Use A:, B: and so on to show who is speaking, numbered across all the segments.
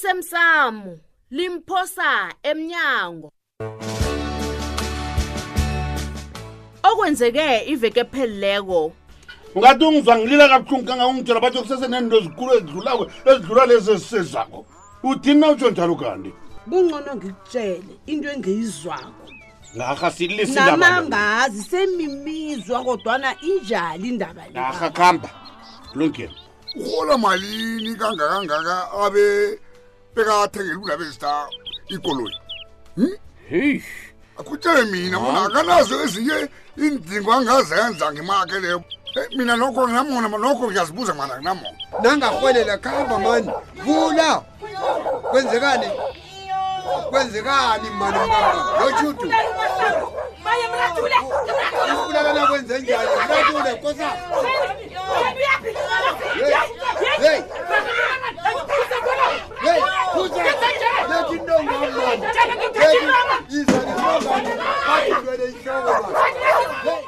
A: osemsamo limphosa emnyango okwenzeke iveke pheleleko
B: ungathi ungizwa ngilila kabuhlungu kangakungitshela batho kusesenento ezikhulu ezidlulako ezidlula lezi ezisezako uthini na utsho njalo kanti
C: kungcono ngikutshele into engiyizwako
B: narha sililesindaba
C: namangazi semimizwa kodwana injali indaba le
D: Ah.
B: narha kuhamba kulungile
E: urhola malini kangakangaka abe bekathengela kunabezita ikoloyi Hm?
B: heyi
E: akutshele mina bona akanazo ezinye iindingo angazenza ngemake leyo Eh, mina nokho nginamona nokho ngiyazibuza mana nginamona
F: nangarhwelela khamba mani vula kwenzekani kwenzekani mani yojudu
G: Maye mrathule, mrathule.
F: ubulalana kwenze njani ulatule kosa
G: Wena uyaphi?
F: hey
G: Ngikubuza bona.
F: hey kuza lethi ntongamani lethi izanihlongani athulwele ihloko mani hey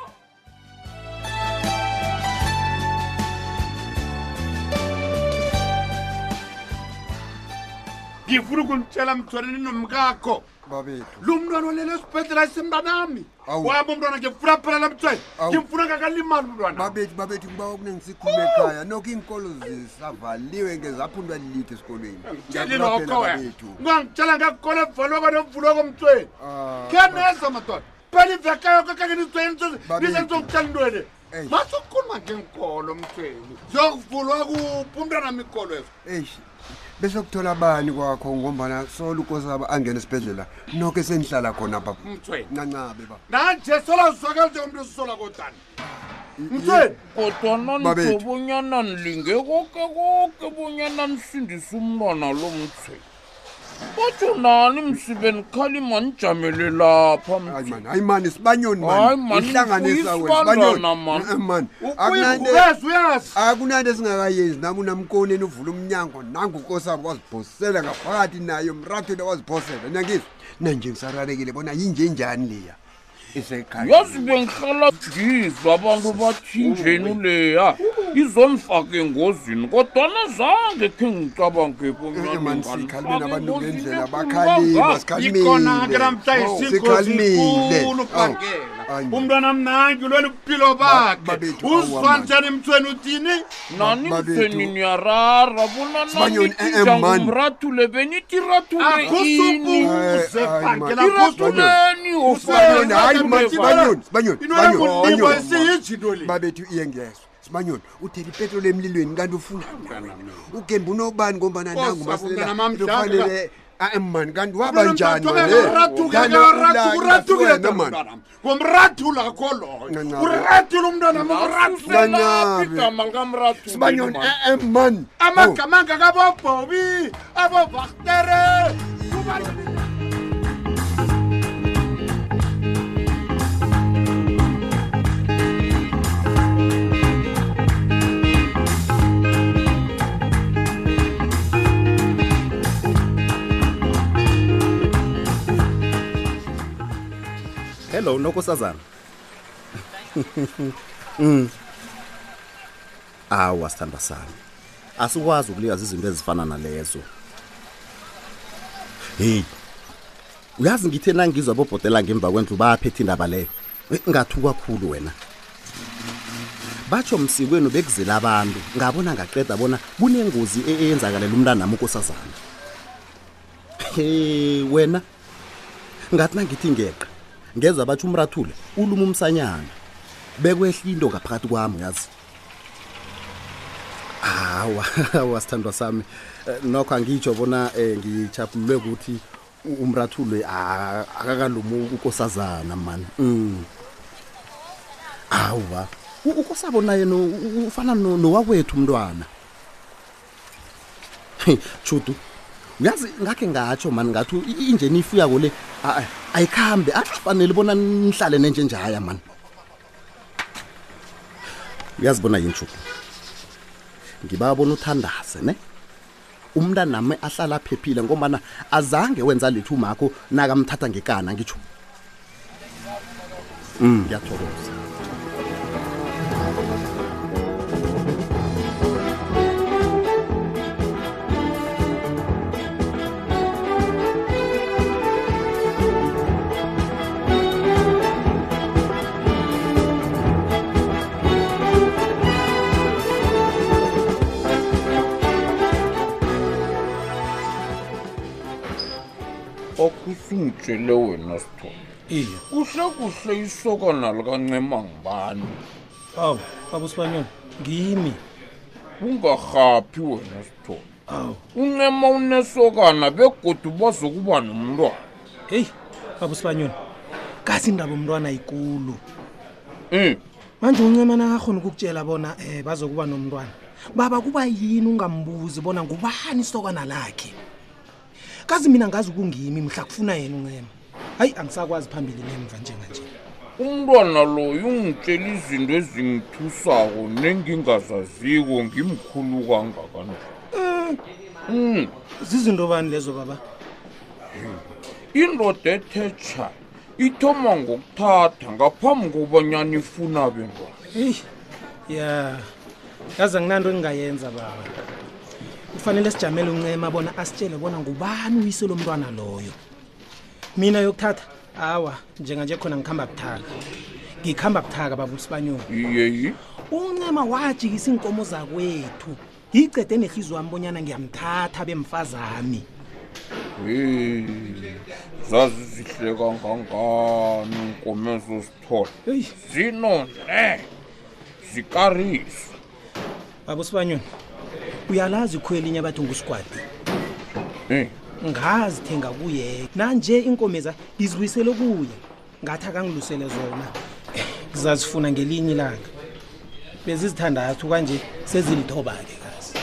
B: ngifuna ukunitshela mthwaneni nomkakho
F: babethu
B: lo mntwana olele esibhedlela isemntanami
F: Awu.
B: wami umntwana ngimfuna phelela mthwane
F: Awu.
B: ngimfuna ngakalimali umntwana
F: babethu babethu kuba kunengisikhuluma ekhaya nokho iinkolo zisavaliwe ngezaphundwa lilitho esikolweni
B: tsheli
F: Ngiyakulaphela,
B: lokho wena
F: babethu.
B: ungangitshela ngekolo evalwako nemvulwako mthweni
F: Ah,
B: keneza madoda phela iveke yoko kangenizweni
F: Babethu.
B: nizenzokutshela intweni
F: Eyi.
B: masukhuluma ngenkolo mthweni ziyokuvulwa kuphi umntwana mikolo eso
F: eish bese kuthola bani kwakho ngombana sola ukosaba angena esibhedlela nokho esenihlala khona baba
B: mthweni
F: nancabe ba
B: nanje solazwakala njengomntu esisola kodani mthweni
H: kodwana
F: Babethu.
H: nitho bonyana nilinge koke koke bonyana nisindise umntwana lo mthweni batsho nani msibe nikhalima nijamele lapha
F: hayi
H: mthweni
F: mani hayi mani sibanyoni
H: Hayi mani,
F: ihlanganisa wena
H: uyisibandana
F: sibanyoni
H: mani.
F: Mm, mm, mani Akunanto-
B: ukuyivukeza uyazi
F: akunanto esingakayenzi nam unamkoneni uvula umnyango nangukosabo waziphosela ngaphakathi nayo mrathweni waziphosela nangizwa nanje ngisararekile bona yinjenjani leya
H: yazi
F: isekhaya
H: bengihlala ngizwa abantu bathinjeni leya izonifaka engozini kodwana zange khe ngicabange
F: mani sikhalimeni abantu ngendlela bakhalima
B: ikhona ke namhlanje
F: Oh, sikhalimile Oh.
B: singozikhulu phakela umntwana mnangi lweli buphilo bakhe
F: babethu, awu,
B: uzwa
F: amani.
B: njani mthweni uthini
H: nani
F: Babethu.
H: mthweni niyarara bona
F: Sibanyoni, eh, eh,
H: nanithinja
F: mani.
H: ngomrathule benithi
D: Ah,
H: rathule ini
F: Ay,
B: akusubuze
F: ay,
B: phakela
F: mani.
B: akusubuze
H: iratuleni
F: Sibanyoni, hayi, mani, Sibanyoni, Sibanyoni, Sibanyoni,
B: inoyakunikwa
F: Sibanyoni.
B: esiyijinto le
F: babethu iye ngiyezwa simanyoni uthela ipetroli emlilweni kanti ufuna ugembe unobani ngombana
B: Kosa,
F: nangu
B: mntwana mam,
F: maselelafanele mani kanti waba njani
B: ngomrathula kho
F: Ncancane.
B: loyo urathula umntwana
F: Nangabe.
H: igama
F: sibanyoni
H: likamrathuleni
F: e-e mani
B: amagama angakabobhobi abobaktere
I: hello nokosazana mm. awa sithanda sami asikwazi ukuliyazi izinto ezifana nalezo heyi uyazi ngithe nangizwa bobhotela ngemva kwendlu baphethe indaba leyo Eh, ngathuka khulu wena batsho msikweni bekuzela abantu ngabona ngaqeda bona kunengozi e- eyenzakalela umntanami ukosazana he wena ngathi nangithi ngeqa ngeza batsho umrathule uluma umsanyana bekwehla into ngaphakathi kwami uyazi hawa hawa sithandwa sami Eh, nokho angitsho bona um ngichapululwe ukuthi u- umrathule a- akakalumi ukosazana mani Mm. hawa U- ukosabo naye no- u- u- ufana no- nowakwethu mntwana chudu uyazi ngakhe ngatsho mani ngathi i- inje nifuyako le a- a- ayikhambe akufanele bona nihlale nenjenjaya mani uyazibona yini chudu ngiba bona uthandaze ne umntana nami ahlala aphephile ngombana azange wenza lethu umakho nakamthatha ngekana ngitsho mm. ngiyathokoza
H: akusungitshele wena sithole
J: iye
H: kuhle kuhle isokana likancema ngibani
J: awu baba usibanyoni ngimi
H: ungarhaphi wena sithole
J: awu
H: uncema unesokana begodu bazokuba nomntwana
J: heyi baba usibanyoni kasi indaba umntwana ikulu
H: um
J: manje uncemana akakhona ukukutshela bona um bazokuba nomntwana baba kuba yini ungambuzi bona ngubani isokana lakhe kazi mina ngazi ukungimi mhla kufuna yena uncema hayi angisakwazi phambili nemva njenganje
H: umntwana loyo ungitshela izinto ezingithusako nengingazaziko ngimkhulu kangakanje um
J: zizinto bani lezo baba
H: indoda ethetsha ithoma ngokuthatha ngaphambi kobanyana ifuna bentwana
J: eyi ya yazi anginanto engingayenza baba kufanele sijamele uncema bona asitshele bona ngubani uyise lomntwana loyo mina yokuthatha awa njenganje khona ngikuhamba buthaka ngikuhamba buthaka baba usibanyoni
H: iyeyi
J: uncema wajikisa iinkomo zakwethu ngiyicede nehlizwe wami bonyana ngiyamthatha bemfazami
H: heyi zazizihle kangangani inkomezo zithola
J: eyi
H: zinone zikarisa
J: baba usibanyoni uyalazi ikho elinye abathi ngusigwadi
H: um
J: ngazi thenga kuye nanje inkomeza ngizibuyisele kuye ngathi akangilusele zona ngizazifuna ngelinye ilanga bezizithandathu kanje sezilithoba-ke kazi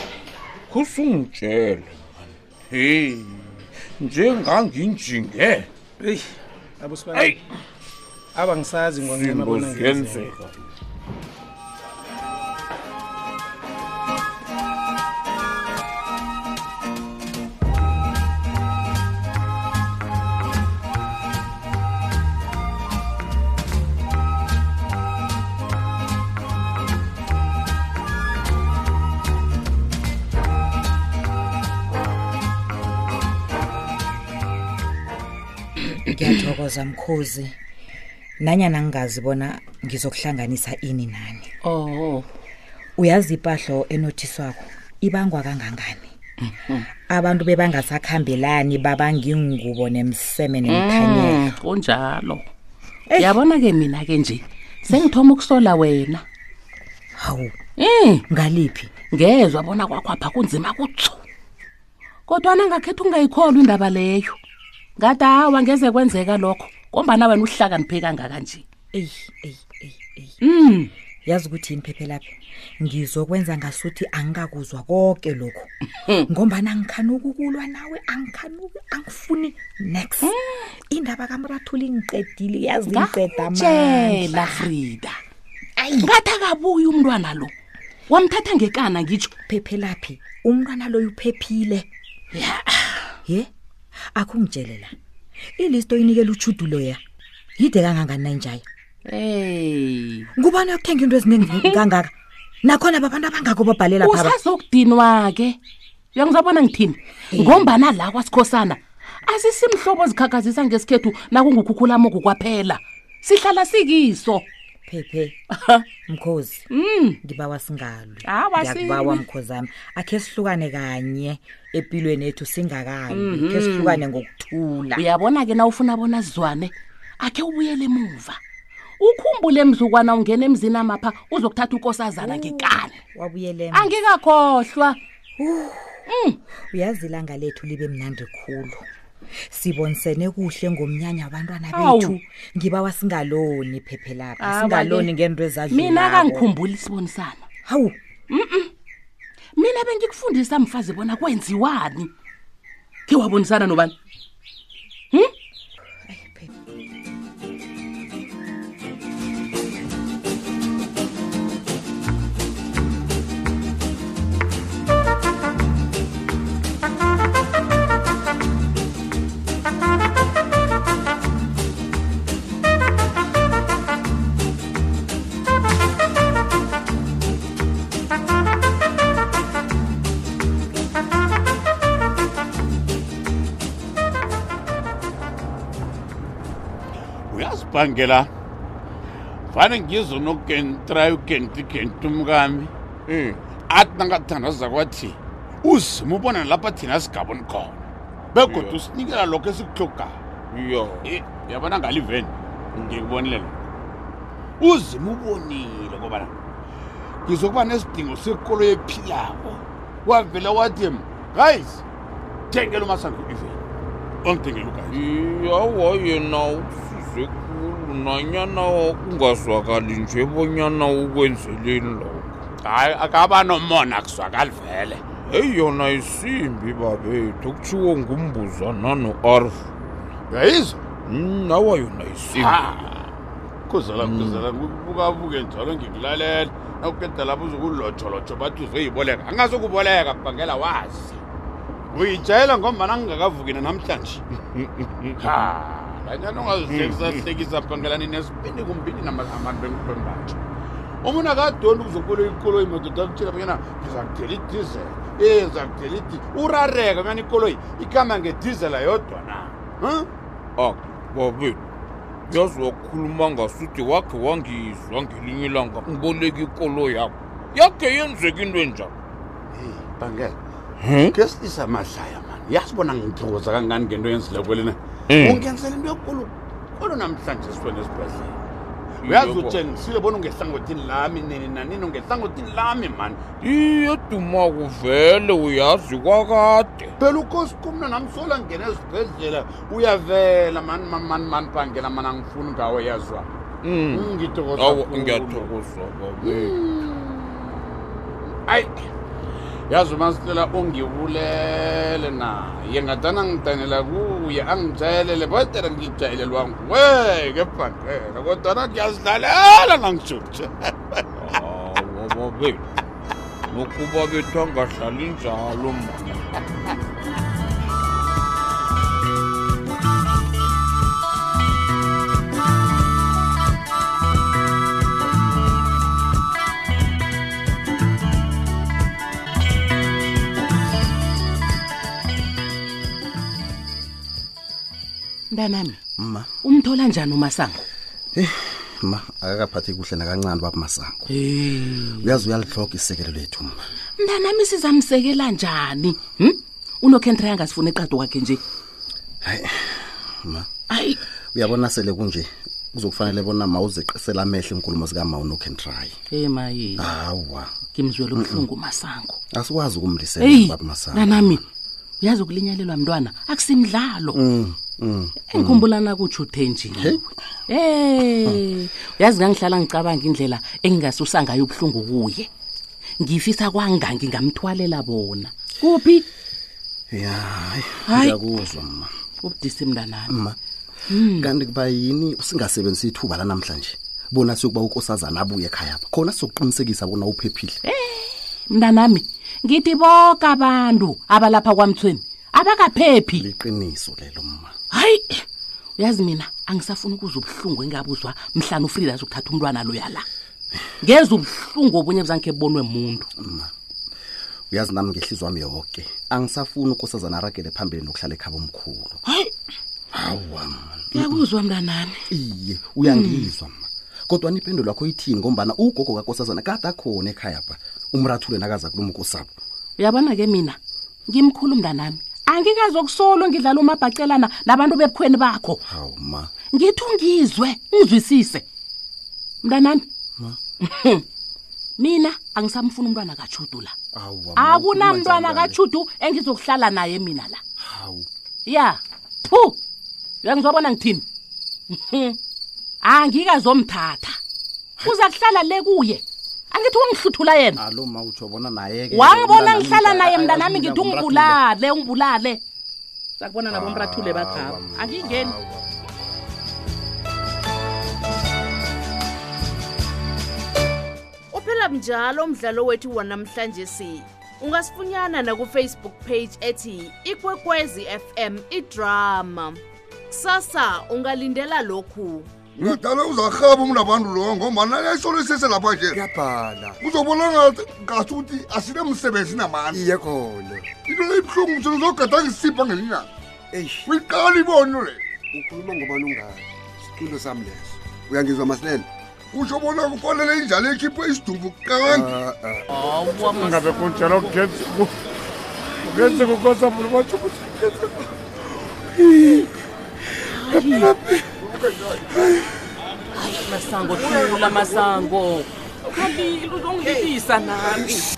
H: kusungitshele mani heyi njenganginjinge
J: eyi abusibaa
H: eyi
J: aba ngisazi ngoncema
H: zinto
J: bona ngenzeni.
H: ziyenzeka
K: ngiyathokoza mkhozi nanyana ngingazi bona ngizokuhlanganisa ini nani
A: Oh,
K: uyazi ipahlo enothiswako ibangwa kangangani abantu bebangasakhambelani babangingubo nemseme nemthanyelo
C: Mm, kunjalo yabona ke mina ke nje sengithoma ukusola wena
K: hawu
C: um
K: ngaliphi
C: ngezwa bona kwakhwapha kunzima kutso kodwana ngakhetha ungayikholwa indaba leyo ngathi hawa ngeze kwenzeka lokho kombana wena uhlakaniphe kangaka nje
K: eyi eyi eyi eyi
C: um
K: yazi ukuthi yini phephe lapha ngizokwenza ngasuthi angikakuzwa konke lokhu ngombana angikhanuki ukulwa nawe angikhanuki angifuni next indaba kamrathula ingiqedile yazi ngiqeda
C: tshela frida ngathi akabuyi umntwana lo wamthatha ngekana ngitsho
K: phephe laphi umntwana loyo uphephile ye akungitshele la ilisto inikela utshudulo ya yide kangangani nanjaya
C: ey
K: ngubani uyokuthenga into eziningi kangaka nakhona babantu abangako babhalela phaba
C: usazokudinwa ke uyangizabona ngithini ngombana la kwasikhosana asisimhlobo zikhakhazisa ngesikhethu nakungukhukhulamogu kwaphela sihlala sikiso
K: phephe mkhozi ngibawa singalwi
C: Awa,
K: ngiyakubawa
C: silwi.
K: mkhozami akhe sihlukane kanye empilweni yethu singakalwi khe sihlukane ngokuthula
C: uyabona ke na ufuna bona sizwane akhe ubuyele emuva ukhumbule mzukwana ungena emzini amapha uzokuthatha ukosazana ngekani
K: wabuyele
C: angikakhohlwa
K: uyazi ilanga lethu libe mnandi khulu sibonisene kuhle ngomnyanya wabantwana
C: Awu.
K: bethu ngibawa singaloni phephe lapha
C: Awa-ke.
K: singaloni ngento ezadlulako
C: mina kangikhumbuli sibonisana
K: hawu
C: mina bengikufundisa mfazi bona kwenziwani ke wabonisana nobani
D: uyazibhangela fane ngizo nokentrayo kenti kenti umkami
H: um
D: athi nangathandaza kwathi uzima ubona lapha thina sigaboni khona begodwa usinikela lokho esikuhlogako
H: yo
D: Eh, yabona ngale iveni ngikubonile lokho uzima ubonile kobana ngizokuba nesidingo sekolo ephilako wavela wathi em guys thengela umasango iveni ongithengela ugayi
H: yawa yena usize khulu nanyana kungazwakali nje bonyana ukwenzeleni lokho
D: hayi akaba nomona kuzwakali vele
H: heyi yona isimbi babethu kutshiwo ngumbuzana no-arv
D: uyayizwa
H: Mm, awa yona isimbi
D: Ah, kuzala kuzala kubukabuke njalo ngikulalela nakuqeda lapho uzokulotsholotsho bathi uzoyiboleka angazokuboleka kubangela wazi uyitshayela ngombana ngingakavuki nanamhlanje ha kanyani ungazihlekisa bangelani nesibindi kumbindi namazamantu bengibembatsho umuntu akadoni kuzokulo ikoloyi madoda akutshela bonyana ngizakudela idizel e ngizakudela idi urareka bonyana ikoloyi ikama ngedizela yodwa na Huh?
H: ak babethu yazi wakhuluma ngasuthi wakhe wangizwa ngelinye ilanga ngiboleka ikolo yakho yakhe yenzeka into enjalo
D: Hey, bangela ke silisa amahlaya mani yasibona ngithokoza kangani ngento yenzile kwelena
H: Mm.
D: ungenzela into yokulu kolo namhlanje siwena esibhedlela uyazi
H: Yebo.
D: utshengisile bona ungehlangothini lami nini nanini ungehlangothini lami mani
H: iyeduma kuvele uyazi kwakade
D: phela ukhosi kumna nami solangena esibhedlela uyavela mani mani mani mani bangela mani angifuni ngawe yazwa
H: Mm.
D: ngithokoza
H: awa
D: khulu.
H: ngiyathokoza babethu
D: ayi yazi umasitela ungibulele naye ngadana ngidanela kuye angijayelele bodera ngijayelelwa nguwe ke bhangela kodwana ngiyazidlalela nangijutshe
H: awa babethu nokuba bethu angadlali njalo mna
C: mntanami
I: ma
C: umthola njani umasango
I: ma akakaphathi kuhle nakancane baba masango uyazi uyalihloga isekelo lethu ma
C: mntanami sizamsekela njani hm? unokhentra angasifuna eqado kwakhe nje
I: ma
C: ayi
I: uyabona sele kunje kuzokufanele bona mawuzeqisela amehlo inkulumo zikamawu nocan try
C: emaye
I: hawa
C: ngimzwele ubuhlungu umasango
I: asikwazi
C: eyi
I: ukumlisela baba masango
C: mntanami uyazi ukulinyalelwa mntwana akusimdlalo
I: Mm, mm.
C: engikhumbulana kutsho uthenji
I: Hey.
C: Eh, uyazi ngangihlala ngicabanga indlela engingasusa ngayo ubuhlungu kuye. Ngifisa kwanga ngingamthwalela bona. Kuphi?
I: ya hayi,
C: Hayi.
I: ngiyakuzwa ma
C: Ubudisi mntanami.
I: ma Hmm. kanti kuba yini usingasebenzisi ithuba lanamhlanje bona siyokuba ukosazana abuye ekhaya apha khona sizokuqinisekisa bona uphephile
C: Mntanami, ngithi bonke abantu abalapha kwaMthweni abakaphephi.
I: liqiniso lelo ma
C: Hayi. Uyazi mina angisafuni ukuzwa ubuhlungu engabuzwa mhlana uFrida azokuthatha umntwana lo yala. Ngeza ubuhlungu obunye buzange bonwe umuntu.
I: uyazi nami ngehlizwa wami yonke angisafuni ukosazana aragele phambili nokuhlala ekhaba omkhulu
C: Hayi,
I: hawa ma
C: uyakuzwa Hmm. mntanami.
I: iye uyangizwa ma kodwa nipendulo yakho ithini ngombana ugogo kakosazana kade akhona ekhaya pha umrathule nakaza kuluma ukosabo
C: uyabona ke mina ngimkhulu mntanami angikazokusolo ngidlala umabhacelana nabantu bebukhweni bakho
I: hawu ma
C: ngithi ungizwe ungizwisise mntanami mina angisamfuni umntwana kachudu la
I: Awa, ma, ukhuluma
C: akunamntwana
I: njani kanje?
C: kachudu engizokuhlala naye mina la
I: hawu
C: ya phu uyangizwabona ngithini Mhm. angikazomthatha uza kuhlala le kuye angithi ungihluthula yena
I: alo ma utsho bona naye-ke
C: wangibona ngihlala naye mntanami ngithi ungibulale ungibulale sakubona nabomrathule bakhaba angingeni
A: uphela njalo umdlalo wethu wanamhlanje si ungasifunyana nakufacebook page ethi ikwekwezi fm idrama sasa ungalindela lokhu
E: ngadala uzarhaba umntu abantu lowo ngombana nayayisolisise lapha nje
F: Oh, kuyabhala
E: uzobona ngasuthi asinemsebenzi namandla
F: iye khona
E: into leyibuhlungu mthina uzogadanga isipha ngelinyanga
F: eish
E: uyiqala ibono le
F: ukhuluma ngobani ungazi siculo sami leso uyangizwa masilela
E: utsho bona kufanele injalo ekhiphe isidumbu kange
F: Ah, ah.
D: ngabe kunjalo kugenzi kugenzi kukosa mulu batsho ukuthi
C: masango thula masango khalile uzongililisa nami